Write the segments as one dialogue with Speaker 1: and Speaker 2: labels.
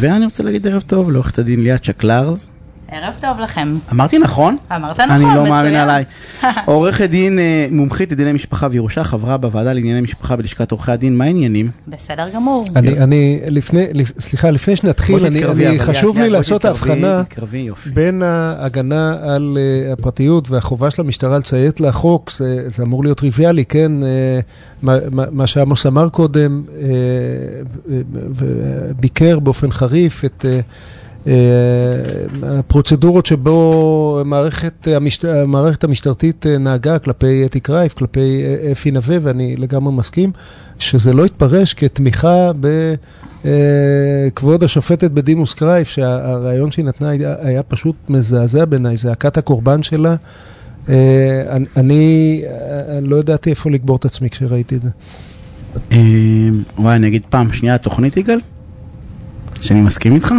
Speaker 1: ואני רוצה להגיד ערב טוב לעורכת הדין ליאת שקלרז.
Speaker 2: ערב טוב לכם.
Speaker 1: אמרתי נכון?
Speaker 2: אמרת נכון,
Speaker 1: אני לא
Speaker 2: מצוין.
Speaker 1: מאמין עליי. עורכת דין אה, מומחית לדיני משפחה וירושה, חברה בוועדה לענייני משפחה בלשכת עורכי הדין, מה העניינים?
Speaker 2: בסדר גמור.
Speaker 3: אני, אני, לפני, לפ- סליחה, לפני שנתחיל,
Speaker 1: בואי
Speaker 3: אני,
Speaker 1: תתקרבי,
Speaker 3: אני
Speaker 1: אבל
Speaker 3: חשוב
Speaker 1: ליאת,
Speaker 3: לי
Speaker 1: ליאת, בואי
Speaker 3: לעשות
Speaker 1: תתקרבי,
Speaker 3: ההבחנה
Speaker 1: תתקרבי, יופי.
Speaker 3: בין ההגנה על אה, הפרטיות והחובה של המשטרה לציית לחוק, זה, זה אמור להיות טריוויאלי, כן? אה, מה, מה- מה שעמוס אמר קודם, אה, ו- ו- וביקר באופן חריף את... אה, אה, הפרוצדורות שבו מערכת, אה, המשט- המערכת המשטרתית אה, נהגה כלפי אתי קרייף, כלפי אה, אפי נווה, ואני לגמרי מסכים, שזה לא יתפרש כתמיכה בכבוד השופטת בדימוס קרייף, שהרעיון שהיא נתנה היה היה פשוט מזעזע בעיניי, זעקת הקורבן שלה. אה, אני- אני אה, לא ידעתי איפה לקבור את עצמי כשראיתי את זה.
Speaker 1: אה, וואי, אני אגיד פעם שנייה תוכנית יגאל? שאני מסכים איתך?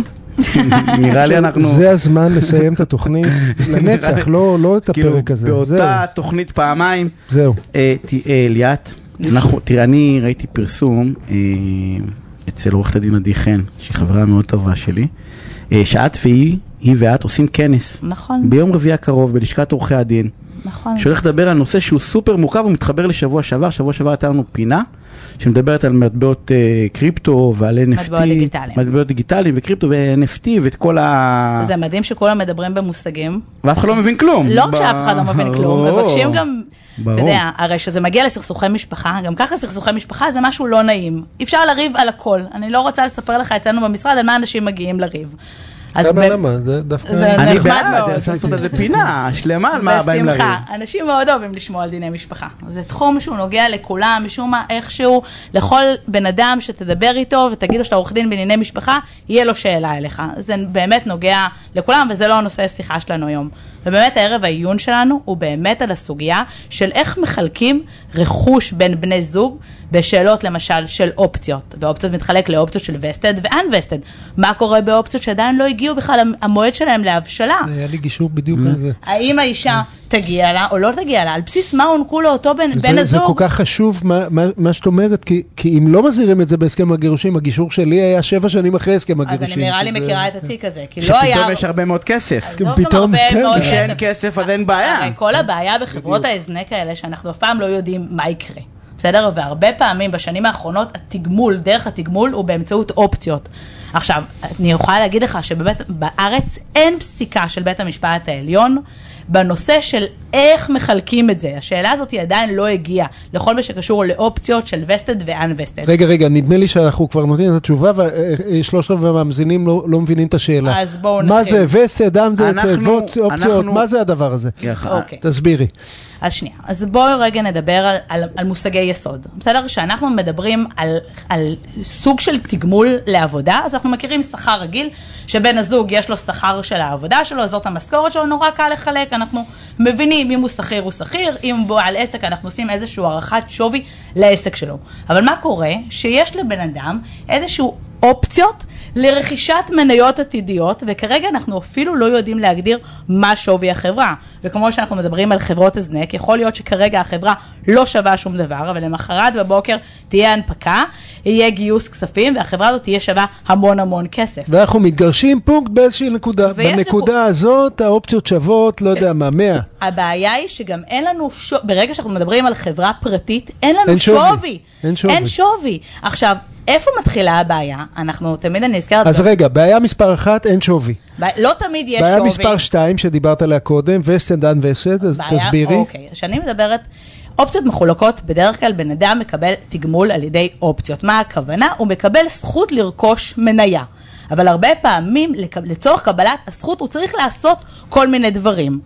Speaker 1: נראה לי אנחנו...
Speaker 3: זה הזמן לסיים את התוכנית לנצח, לא לא את
Speaker 1: כאילו,
Speaker 3: הפרק הזה.
Speaker 1: באותה תוכנית פעמיים.
Speaker 3: זהו, זהו.
Speaker 1: אה, ת- אה, ליאת,
Speaker 2: נכון.
Speaker 1: אנחנו- תראה, אני ראיתי פרסום אה, אצל עורכת הדין עדי חן, שהיא חברה מאוד טובה שלי, אה, שאת והיא, היא ואת עושים כנס
Speaker 2: נכון,
Speaker 1: ביום רביעי הקרוב בלשכת עורכי הדין,
Speaker 2: נכון.
Speaker 1: שהולך לדבר על נושא שהוא סופר מורכב ומתחבר לשבוע שעבר. שבוע שעבר הייתה לנו פינה שמדברת על מטבעות אה, קריפטו ועל NFT.
Speaker 2: מטבעות דיגיטליים.
Speaker 1: מטבעות דיגיטליים וקריפטו ו-NFT ואת כל ה...
Speaker 2: זה מדהים שכולם מדברים במושגים.
Speaker 1: ואף אחד לא מבין כלום.
Speaker 2: לא
Speaker 1: ב-
Speaker 2: רק שאף אחד לא מבין כלום,
Speaker 1: ברור.
Speaker 2: מבקשים גם, אתה
Speaker 1: ברור.
Speaker 2: יודע, הרי שזה מגיע לסכסוכי משפחה, גם ככה סכסוכי משפחה זה משהו לא נעים. אי אפשר לריב על הכל. אני לא רוצה לספר לך אצלנו במשרד על מה אנשים מגיעים לריב. אז
Speaker 3: למה,
Speaker 2: ב-
Speaker 3: למה? זה דווקא...
Speaker 2: זה-
Speaker 1: אני
Speaker 2: נחמד
Speaker 1: בעד,
Speaker 2: מאוד.
Speaker 1: אפשר לעשות על זה פינה שלמה על מה באים לריב.
Speaker 2: בשמחה, אנשים מאוד אוהבים לשמוע על דיני משפחה. זה תחום שהוא נוגע לכולם, משום מה, איכשהו, לכל בן אדם שתדבר איתו ותגיד לו שאתה עורך דין בענייני משפחה, יהיה לו שאלה אליך. זה באמת נוגע לכולם, וזה לא הנושא השיחה שלנו היום. ובאמת הערב העיון שלנו הוא באמת על הסוגיה של איך מחלקים רכוש בין בני זוג בשאלות למשל של אופציות, ואופציות מתחלק לאופציות של וסטד ואנווסטד. מה קורה באופציות שעדיין לא הגיעו בכלל המועד שלהם להבשלה?
Speaker 3: היה לי גישור בדיוק על זה.
Speaker 2: האם האישה תגיע לה או לא תגיע לה, על בסיס מה הוענקו לאותו בן, בן
Speaker 3: זה-
Speaker 2: הזוג.
Speaker 3: זה כל כך חשוב מה- מה- מה שאת אומרת, כי- כי אם לא מזהירים את זה בהסכם הגירושים, הגישור שלי היה שבע שנים אחרי הסכם
Speaker 2: אז
Speaker 3: הגירושים.
Speaker 2: אני נראה לי
Speaker 3: שזה-
Speaker 2: מכירה את התיק הזה, כי לא היה... לא
Speaker 1: שפתאום יש הרבה מאוד כסף.
Speaker 2: עזוב גם
Speaker 3: פתאום,
Speaker 2: הרבה
Speaker 3: כן.
Speaker 2: מאוד
Speaker 1: כשאין
Speaker 2: כסף.
Speaker 1: כסף אז אין בעיה.
Speaker 2: הרי כל הבעיה בחברות ההזנק האלה, שאנחנו אף פעם לא יודעים מה יקרה. בסדר? והרבה פעמים בשנים האחרונות התגמול, דרך התגמול הוא באמצעות אופציות. עכשיו, אני יכולה להגיד לך שבארץ אין פסיקה של בית המשפט העליון בנושא של איך מחלקים את זה. השאלה הזאת היא עדיין לא הגיעה לכל מה שקשור לאופציות של וסטד ואנווסטד.
Speaker 3: רגע, רגע, נדמה לי שאנחנו כבר נותנים את התשובה, אה, ושלושת רבעי מהמאזינים לא לא מבינים את השאלה.
Speaker 2: אז בואו
Speaker 3: מה
Speaker 2: נתחיל.
Speaker 3: זה וסד, עם זה,
Speaker 1: אנחנו-
Speaker 3: צאבות, אופציות,
Speaker 1: אנחנו-
Speaker 3: מה זה הדבר הזה?
Speaker 1: יח-
Speaker 2: אוקיי.
Speaker 3: תסבירי.
Speaker 2: אז שנייה, אז בואו רגע נדבר על, על, על מושגי יסוד. בסדר? כשאנחנו מדברים על, על סוג של תגמול לעבודה, אז אנחנו מכירים שכר רגיל, שבן הזוג יש לו שכר של העבודה שלו, זאת המשכורת שלו, נורא קל לחלק, אנחנו מבינים אם הוא שכיר הוא שכיר, אם הוא בעל עסק אנחנו עושים איזושהי הערכת שווי לעסק שלו. אבל מה קורה? שיש לבן אדם איזשהו אופציות לרכישת מניות עתידיות, וכרגע אנחנו אפילו לא יודעים להגדיר מה שווי החברה. וכמו שאנחנו מדברים על חברות הזנק, יכול להיות שכרגע החברה לא שווה שום דבר, אבל למחרת בבוקר תהיה הנפקה, יהיה גיוס כספים, והחברה הזאת תהיה שווה המון המון כסף.
Speaker 3: ואנחנו מתגרשים פונקט באיזושהי נקודה.
Speaker 2: ויש
Speaker 3: בנקודה הזאת האופציות שוות, לא יודע מה, 100.
Speaker 2: הבעיה היא שגם אין לנו שווי, ברגע שאנחנו מדברים על חברה פרטית, אין לנו
Speaker 3: אין שווי.
Speaker 2: שווי.
Speaker 3: אין שווי.
Speaker 2: אין שווי. עכשיו, איפה מתחילה הבעיה? אנחנו, תמיד אני נזכרת,
Speaker 3: אז
Speaker 2: ב-
Speaker 3: רגע, בעיה מספר אחת, אין שווי.
Speaker 2: ב- לא תמיד יש שווי.
Speaker 3: בעיה מספר 2 שדיברת עליה קודם, וסטנד אנד וסד, אז
Speaker 2: בעיה-
Speaker 3: תסבירי.
Speaker 2: אוקיי, כשאני מדברת, אופציות מחולקות, בדרך כלל בן אדם מקבל תגמול על ידי אופציות. מה הכוונה? הוא מקבל זכות לרכוש מניה. אבל הרבה פעמים לק- לצורך קבלת הזכות הוא צריך לעשות כל מיני דברים.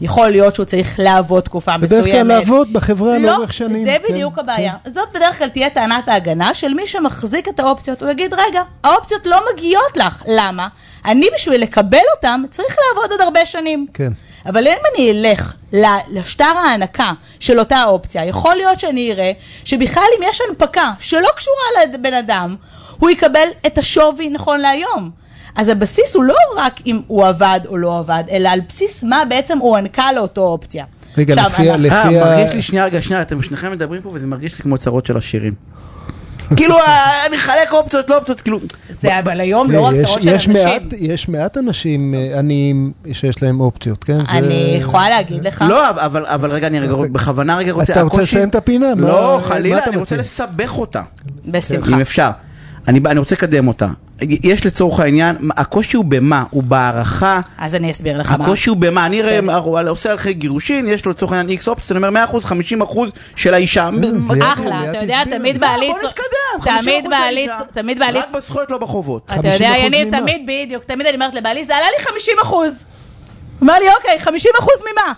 Speaker 2: יכול להיות שהוא צריך לעבוד תקופה מסוימת. לא,
Speaker 3: בדרך כלל לעבוד בחברה לאורך שנים.
Speaker 2: זה
Speaker 3: כן,
Speaker 2: בדיוק
Speaker 3: כן.
Speaker 2: הבעיה. זאת בדרך כלל תהיה טענת ההגנה של מי שמחזיק את האופציות. הוא יגיד, רגע, האופציות לא מגיעות לך. למה? אני בשביל לקבל אותן צריך לעבוד עוד הרבה שנים.
Speaker 3: כן.
Speaker 2: אבל אם אני אלך ל- לשטר ההנקה של אותה אופציה, יכול להיות שאני אראה שבכלל אם יש הנפקה שלא קשורה לבן אדם, הוא יקבל את השווי נכון להיום. אז הבסיס הוא לא רק אם הוא עבד או לא עבד, אלא על בסיס מה בעצם הוא הוענקה לאותו אופציה.
Speaker 3: רגע,
Speaker 2: עכשיו,
Speaker 3: לפי ה-
Speaker 2: אנחנו-
Speaker 3: לפי
Speaker 1: אה,
Speaker 3: ה-
Speaker 1: מרגיש לי, שנייה, רגע, שנייה, אתם שניכם מדברים פה וזה מרגיש לי כמו צרות של עשירים. כאילו, אה, נחלק אופציות, לא אופציות, כאילו...
Speaker 2: זה אבל היום לא רק
Speaker 3: יש-
Speaker 2: צרות של
Speaker 3: יש
Speaker 2: אנשים.
Speaker 3: מעט- יש מעט אנשים אה, עניים שיש להם אופציות, כן? זה-
Speaker 2: אני יכולה להגיד לך,
Speaker 1: לא, אבל, אבל רגע, אני רגע, בכוונה רגע רוצה...
Speaker 3: אתה רוצה
Speaker 1: הקושי-
Speaker 3: לסיים את הפינה? מה-
Speaker 1: לא,
Speaker 3: מה
Speaker 1: חלילה,
Speaker 3: אתה
Speaker 1: אני רוצה
Speaker 3: מציע? אוקיי.
Speaker 1: לסבך אותה,
Speaker 2: בשמחה.
Speaker 1: אם אפשר. אני, אני רוצה לקדם אותה. יש לצורך העניין, הקושי הוא במה? הוא בהערכה.
Speaker 2: אז אני אסביר לך מה.
Speaker 1: הקושי הוא במה, אני רואה,
Speaker 2: כן.
Speaker 1: אבל עושה הליכי גירושין, יש לו לצורך העניין איקס אופציות, אני אומר 100%, 50% של האישה.
Speaker 2: אחלה, אתה יודע,
Speaker 3: ליאת
Speaker 2: תמיד
Speaker 1: בוא
Speaker 2: בעלי... צו-
Speaker 1: נתקדם, 50%
Speaker 2: תמיד בעלי...
Speaker 1: לאישה.
Speaker 2: צו- תמיד אה, בעלי...
Speaker 1: רק בזכויות לא בחובות.
Speaker 2: אתה יודע,
Speaker 3: 50%
Speaker 2: יניב,
Speaker 3: ממה?
Speaker 2: תמיד, בדיוק, תמיד אני אומרת לבעלי, זה עלה לי 50 אחוז. אמר לי, אוקיי, 50 אחוז ממה?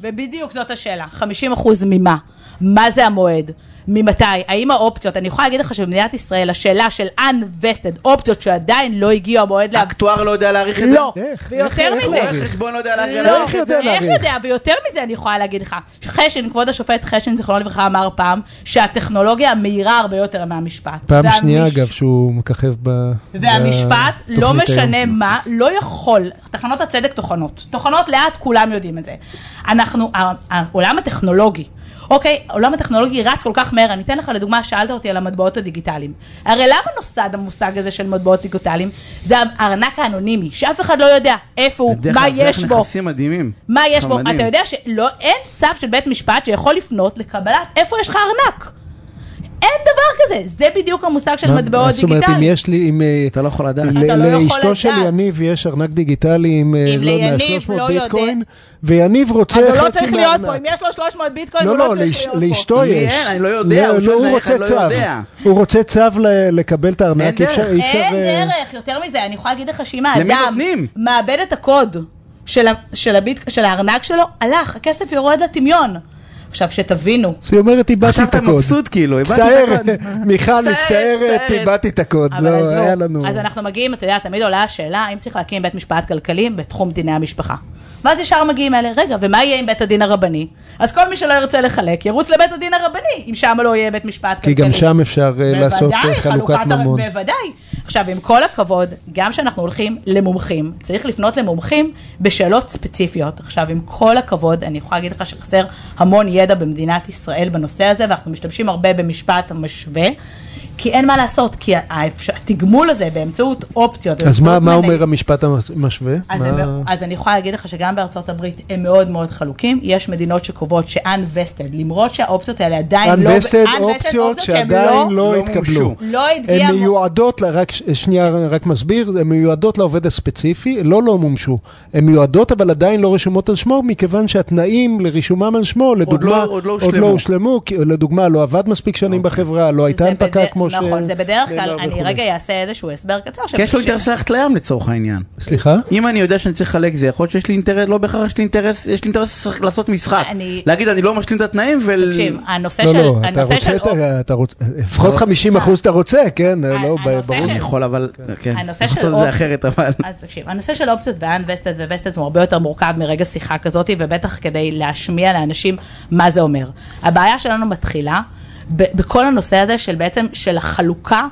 Speaker 2: ובדיוק זאת השאלה, 50 אחוז ממה? מה זה המועד? ממתי? האם האופציות? אני יכולה להגיד לך שבמדינת ישראל השאלה של unvested, אופציות שעדיין לא הגיעו המועד לה...
Speaker 1: אקטואר לא יודע להעריך את זה?
Speaker 2: לא,
Speaker 3: איך? איך-
Speaker 2: ויותר
Speaker 3: איך
Speaker 2: מזה,
Speaker 3: הוא
Speaker 1: רואה חשבון לא יודע
Speaker 2: לא,
Speaker 1: להעריך
Speaker 3: איך
Speaker 1: את
Speaker 3: יודע
Speaker 1: זה?
Speaker 2: איך
Speaker 3: להעריך?
Speaker 2: יודע, ויותר מזה אני יכולה להגיד לך, חשן, כבוד השופט חשן, זיכרונו לברכה, אמר פעם, שהטכנולוגיה מהירה הרבה יותר מהמשפט.
Speaker 3: פעם
Speaker 2: והמש-
Speaker 3: שנייה, אגב, שהוא מככב ב...
Speaker 2: והמשפט,
Speaker 3: בתוכנית
Speaker 2: לא
Speaker 3: היום.
Speaker 2: משנה מה, לא יכול, תחנות הצדק טוחנות. טוחנות לאט, כולם יודעים את זה. אנחנו, ה- העולם הטכנולוגי, אוקיי, העולם הטכנולוגי רץ כל כך מהר, אני אתן לך לדוגמה, שאלת אותי על המטבעות הדיגיטליים. הרי למה נוסד המושג הזה של מטבעות דיגיטליים? זה הארנק האנונימי, שאף אחד לא יודע איפה הוא, מה יש בו.
Speaker 1: נכסים מדהימים.
Speaker 2: מה יש בו?
Speaker 1: חמדים.
Speaker 2: אתה יודע שלא, אין צו של בית משפט שיכול לפנות לקבלת איפה יש לך ארנק. אין דבר כזה, זה בדיוק המושג של
Speaker 3: מה- מה
Speaker 2: מטבעות
Speaker 3: זאת אומרת, אם
Speaker 2: דיגיטליים.
Speaker 3: יש לי, אם... אה,
Speaker 1: אתה לא יכול לדעת.
Speaker 3: ל-
Speaker 2: אתה לא יכול
Speaker 3: לאשתו של
Speaker 2: לדעת.
Speaker 3: יניב יש ארנק דיגיטלי עם, אה,
Speaker 2: אם
Speaker 3: לא יודע,
Speaker 2: ליניב
Speaker 3: 300
Speaker 2: לא
Speaker 3: ביטקוין, ויניב רוצה
Speaker 2: אז
Speaker 3: חצי
Speaker 2: הוא לא צריך להיות
Speaker 3: מהארנק.
Speaker 2: פה, אם יש לו 300 ביטקוין, הוא
Speaker 3: לא,
Speaker 2: לא
Speaker 3: לא,
Speaker 2: צריך
Speaker 3: לאש-
Speaker 2: להיות פה.
Speaker 3: לאשתו
Speaker 1: לי
Speaker 3: יש.
Speaker 1: אין, אני לא יודע, הוא
Speaker 3: לא,
Speaker 1: שואל
Speaker 3: הוא
Speaker 1: איך,
Speaker 3: רוצה
Speaker 1: אני לא
Speaker 3: צו.
Speaker 1: יודע.
Speaker 3: הוא רוצה צו ל- לקבל את הארנק,
Speaker 1: אין
Speaker 3: אי אפשר...
Speaker 1: דרך.
Speaker 3: אי אפשר,
Speaker 2: אין
Speaker 3: אה,
Speaker 2: דרך, יותר מזה, אני יכולה להגיד לך שאם
Speaker 1: למי
Speaker 2: האדם
Speaker 1: נותנים?
Speaker 2: מאבד את הקוד של ה- של הביט- של הארנק שלו, הלך, הכסף יורד לטמיון. עכשיו, שתבינו,
Speaker 3: אז היא אומרת, איבדתי
Speaker 1: עכשיו
Speaker 3: את
Speaker 1: אתה
Speaker 3: הקוד.
Speaker 1: מבסוט כאילו, איבדתי את
Speaker 3: מצטערת,
Speaker 1: הקוד.
Speaker 3: מיכל,
Speaker 1: מצטערת,
Speaker 3: מצטערת,
Speaker 1: מצטערת.
Speaker 3: איבדתי את הקוד.
Speaker 2: אבל
Speaker 3: לא,
Speaker 2: אז לא.
Speaker 3: היה לנו...
Speaker 2: אז אנחנו מגיעים, אתה יודע, תמיד עולה השאלה, האם צריך להקים בית משפט כלכלי בתחום דיני המשפחה. ואז ישר מגיעים אלה, רגע, ומה יהיה עם בית הדין הרבני? אז כל מי שלא ירצה לחלק, ירוץ לבית הדין הרבני, אם שם לא יהיה בית משפט
Speaker 3: כי
Speaker 2: כלכלי.
Speaker 3: גם שם אפשר אה, לעשות אה,
Speaker 2: בוודאי,
Speaker 3: חלוקת
Speaker 2: חלוקת הר-
Speaker 3: ממון.
Speaker 2: בוודאי. עכשיו, עם כל הכבוד, גם כשאנחנו הולכים למומחים, צריך לפנות למומחים בשאלות ספציפיות. עכשיו, עם כל הכבוד, אני יכולה להגיד לך שחסר המון ידע במדינת ישראל בנושא הזה, ואנחנו משתמשים הרבה במשפט המשווה, כי אין מה לעשות, כי האפשר- התגמול הזה באמצעות אופציות,
Speaker 3: אז מה-
Speaker 2: באמצעות
Speaker 3: מה
Speaker 2: מנהיג-
Speaker 3: אומר המשפט המשווה?
Speaker 2: אז,
Speaker 3: מה-
Speaker 2: הם, אז אני יכולה להגיד לך שגם בארצות הברית הם מאוד מאוד חלוקים, יש מדינות שקובעות ש-unvested, למרות שהאופציות האלה עדיין לא...
Speaker 3: unvested
Speaker 2: unvested
Speaker 3: אופציות
Speaker 2: שהן
Speaker 3: שעדיין לא
Speaker 1: לא
Speaker 3: התקבלו.
Speaker 1: מומשו.
Speaker 2: לא הגיע...
Speaker 3: הן מיועדות, ל- רק ש- שנייה, רק מסביר, הן מיועדות לעובד הספציפי, לא לא מומשו. הן מיועדות אבל עדיין לא רשומות על שמו, מכיוון שהתנאים לרישומם על שמו, לדוגמה,
Speaker 1: לא- עוד לא
Speaker 3: עוד לא
Speaker 1: הושלמו. אוקיי.
Speaker 3: הושלמו, כי- לדוגמה, לא עבד מספיק שנים בחברה, לא הייתה
Speaker 2: זה
Speaker 3: הנפקה
Speaker 2: בד-
Speaker 3: כמו ש...
Speaker 2: נכון, זה בדרך כלל,
Speaker 3: נאמר
Speaker 2: אני
Speaker 3: וכו'.
Speaker 2: רגע אעשה איזשהו הסבר קצר.
Speaker 1: כי יש לו
Speaker 2: שבשביל-
Speaker 1: אינטרס ללכת לים לצורך העניין.
Speaker 3: סליחה?
Speaker 1: אם אני יודע שאני צריך לחלק זה, יכול להיות שיש לי אינטרס, לא בהכרח יש לי אינטרס, יש לי אינטרס לעשות משחק.
Speaker 2: אני-
Speaker 1: להגיד אני לא משלים את התנאים ול...
Speaker 2: תקשיב, הנושא
Speaker 3: לא,
Speaker 2: של...
Speaker 3: לא, אתה
Speaker 2: הנושא
Speaker 3: רוצה,
Speaker 2: של
Speaker 3: את ה-
Speaker 2: אופ-
Speaker 3: אתה רוצה,
Speaker 1: לא.
Speaker 3: לפחות 50 אחוז אתה רוצה, כן? לא,
Speaker 2: הנושא
Speaker 3: ברור.
Speaker 1: אני יכול אבל... כן.
Speaker 2: הנושא
Speaker 1: יכול
Speaker 2: של
Speaker 1: לעשות את זה
Speaker 2: אופציה-
Speaker 1: אחרת אבל...
Speaker 2: אז תקשיב, הנושא של אופציות ו-unvested ו-vested הוא הרבה יותר מורכב מרגע שיחה כזאת, ובטח כדי להשמיע לאנשים מה זה אומר. הבעיה שלנו מתחילה ב- בכל הנושא הזה של בעצם, של החלוקה.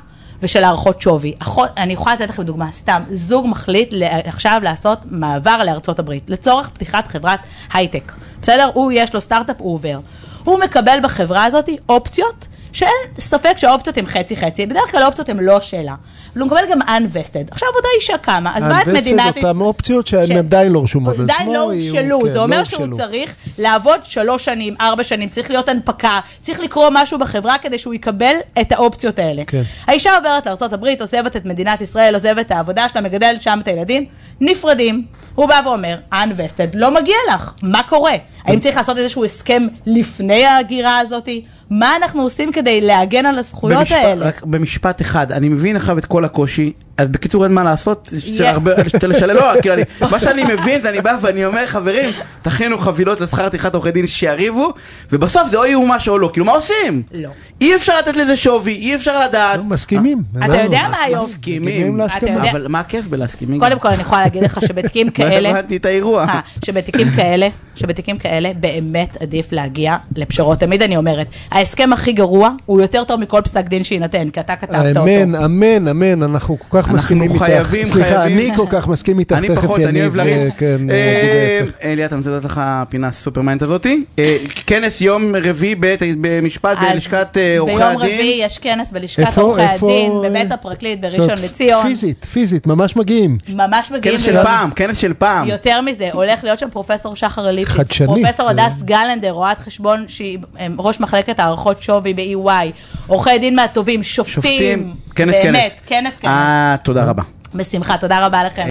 Speaker 2: ושל הערכות שווי. אחות, אני יכולה לתת לכם דוגמה, סתם, זוג מחליט ל- עכשיו לעשות מעבר לארצות הברית, לצורך פתיחת חברת הייטק, בסדר? הוא, יש לו סטארט-אפ, הוא עובר. הוא מקבל בחברה הזאת אופציות שאין ספק שהאופציות הן חצי-חצי, בדרך כלל האופציות הן לא שאלה. אבל הוא מקבל גם unvested. עכשיו אותה אישה קמה, אז באה את מדינת...
Speaker 3: אותן אופציות
Speaker 2: ש-
Speaker 3: שהן עדיין לא רשומות על שמו.
Speaker 2: עדיין לא
Speaker 3: יהיו-
Speaker 2: הושאלו,
Speaker 3: כן,
Speaker 2: זה
Speaker 3: לא
Speaker 2: אומר שהוא
Speaker 3: הושאלו.
Speaker 2: צריך לעבוד שלוש שנים, ארבע שנים, צריך להיות הנפקה, צריך לקרוא משהו בחברה כדי שהוא יקבל את האופציות האלה.
Speaker 3: כן.
Speaker 2: האישה עוברת לארה"ב, עוזבת את מדינת ישראל, עוזבת את העבודה שלה, מגדלת שם את הילדים, נפרדים. הוא בא ואומר, unvested, לא מגיע לך, מה קורה? האם צריך לעשות איזשהו הסכם לפני ההגירה הזאת? מה אנחנו עושים כדי להגן על הזכויות
Speaker 1: במשפט-
Speaker 2: האלה?
Speaker 1: רק במשפט אחד, אני מבין עכשיו את כל הקושי, אז בקיצור אין מה לעשות, יש
Speaker 2: Yes.
Speaker 1: הרבה, יש- לשלם, לא, כאילו, אני- מה שאני מבין זה אני בא ואני אומר, חברים, תכינו חבילות לשכר טרחת עורכי דין שיריבו, ובסוף זה או יאומש או לא, כאילו מה עושים?
Speaker 2: לא.
Speaker 1: אי אפשר לתת לזה שווי, אי אפשר לדעת.
Speaker 3: לא, מסכימים.
Speaker 2: אה, אתה יודע מה היום?
Speaker 1: מסכימים,
Speaker 3: להסכמה.
Speaker 2: אתה יודע-
Speaker 1: אבל מה הכיף בלהסכימים?
Speaker 2: קודם כל, אני יכולה להגיד לך שבתיקים
Speaker 1: לא
Speaker 2: כאלה...
Speaker 1: הבנתי את האירוע.
Speaker 2: אה, שבתיקים כאלה, שבתיקים כאלה באמת עדיף להגיע לפשרות. תמיד אני אומרת, ההסכם הכי גרוע הוא יותר טוב מכל פסק דין שיינתן, כי אתה כתבת אותו.
Speaker 3: אמן, אמן, אמן, אנחנו כל כך
Speaker 1: אנחנו
Speaker 3: מסכימים איתך.
Speaker 1: חייבים,
Speaker 3: סליחה,
Speaker 1: חייבים.
Speaker 3: אני כל כך מסכים איתך,
Speaker 1: אני
Speaker 3: תכף
Speaker 1: פחות, אני
Speaker 3: יניב,
Speaker 1: אוהב לריב.
Speaker 3: אה, כן,
Speaker 1: אה,
Speaker 3: אה, יגיד ההפך.
Speaker 1: ליאת, אני רוצה לתת לך פינה סופרמנט הזאתי. אה, כנס יום רביעי בית- במשפט
Speaker 2: אז
Speaker 1: בלשכת אה, עורכי
Speaker 2: ביום רביעי
Speaker 1: הדין.
Speaker 2: יש כנס בלשכת
Speaker 3: איפה-
Speaker 2: עורכי
Speaker 3: איפה-
Speaker 2: הדין, בבית הפרקליט בראשון
Speaker 3: זאת
Speaker 2: לציון.
Speaker 3: פיזית, פיזית, ממש מגיעים.
Speaker 2: ממש מגיעים...
Speaker 1: כנס של
Speaker 2: להיות-
Speaker 1: פעם, כנס של פעם.
Speaker 2: יותר מזה, הולך להיות שם פרופסור שחר ליפשיץ.
Speaker 3: חדשני.
Speaker 2: פרופסור
Speaker 1: כן.
Speaker 2: הדס גלנדר, רואת חשבון שהיא אמ, ראש מחלקת הערכות שווי ב-EY. עורכי דין מהטובים, שופטים.
Speaker 1: שופטים, כנס, כנס.
Speaker 2: באמת, כנס, כנס.
Speaker 1: אה, תודה רבה.
Speaker 2: בשמחה, תודה רבה לכם.